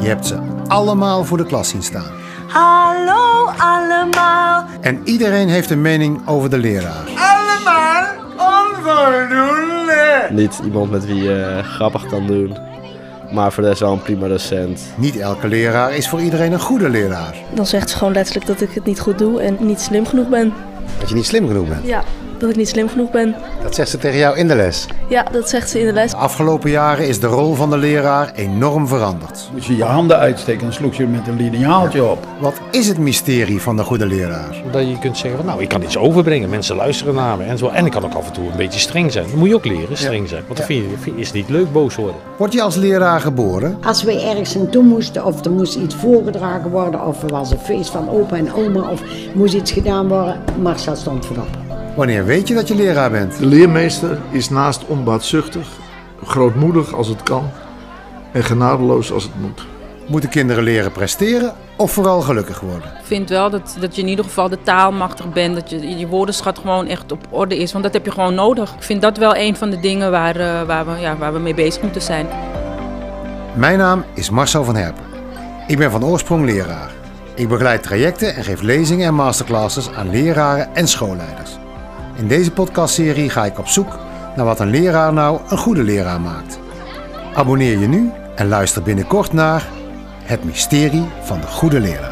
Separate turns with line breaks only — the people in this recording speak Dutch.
Je hebt ze allemaal voor de klas zien staan.
Hallo allemaal.
En iedereen heeft een mening over de leraar.
Allemaal onvoldoende.
Niet iemand met wie je grappig kan doen. Maar voor de rest wel een prima docent.
Niet elke leraar is voor iedereen een goede leraar.
Dan zegt ze gewoon letterlijk dat ik het niet goed doe en niet slim genoeg ben.
Dat je niet slim genoeg bent.
Ja, dat ik niet slim genoeg ben.
Dat zegt ze tegen jou in de les.
Ja, dat zegt ze in de les.
De afgelopen jaren is de rol van de leraar enorm veranderd.
Moet Dus je je handen uitsteken en sloeg je met een lineaaltje op.
Wat is het mysterie van de goede leraar?
Dat je kunt zeggen van nou, ik kan iets overbrengen, mensen luisteren naar me en zo. En ik kan ook af en toe een beetje streng zijn. Dat moet je ook leren, streng zijn. Want dan vind je, vind je- is het niet leuk boos worden.
Word je als leraar geboren?
Als we ergens naartoe moesten, of er moest iets voorgedragen worden, of er was een feest van opa en oma, of moest iets gedaan worden, Marcel stond voorop.
Wanneer weet je dat je leraar bent?
De leermeester is naast onbaatzuchtig, grootmoedig als het kan en genadeloos als het moet.
Moeten kinderen leren presteren of vooral gelukkig worden?
Ik vind wel dat, dat je in ieder geval de taalmachtig bent. Dat je, je woordenschat gewoon echt op orde is. Want dat heb je gewoon nodig. Ik vind dat wel een van de dingen waar, eh, waar, we, ja, waar we mee bezig moeten zijn.
Mijn naam is Marcel van Herpen. Ik ben van oorsprong leraar. Ik begeleid trajecten en geef lezingen en masterclasses aan leraren en schoolleiders. In deze podcastserie ga ik op zoek naar wat een leraar nou een goede leraar maakt. Abonneer je nu en luister binnenkort naar Het Mysterie van de Goede Leraar.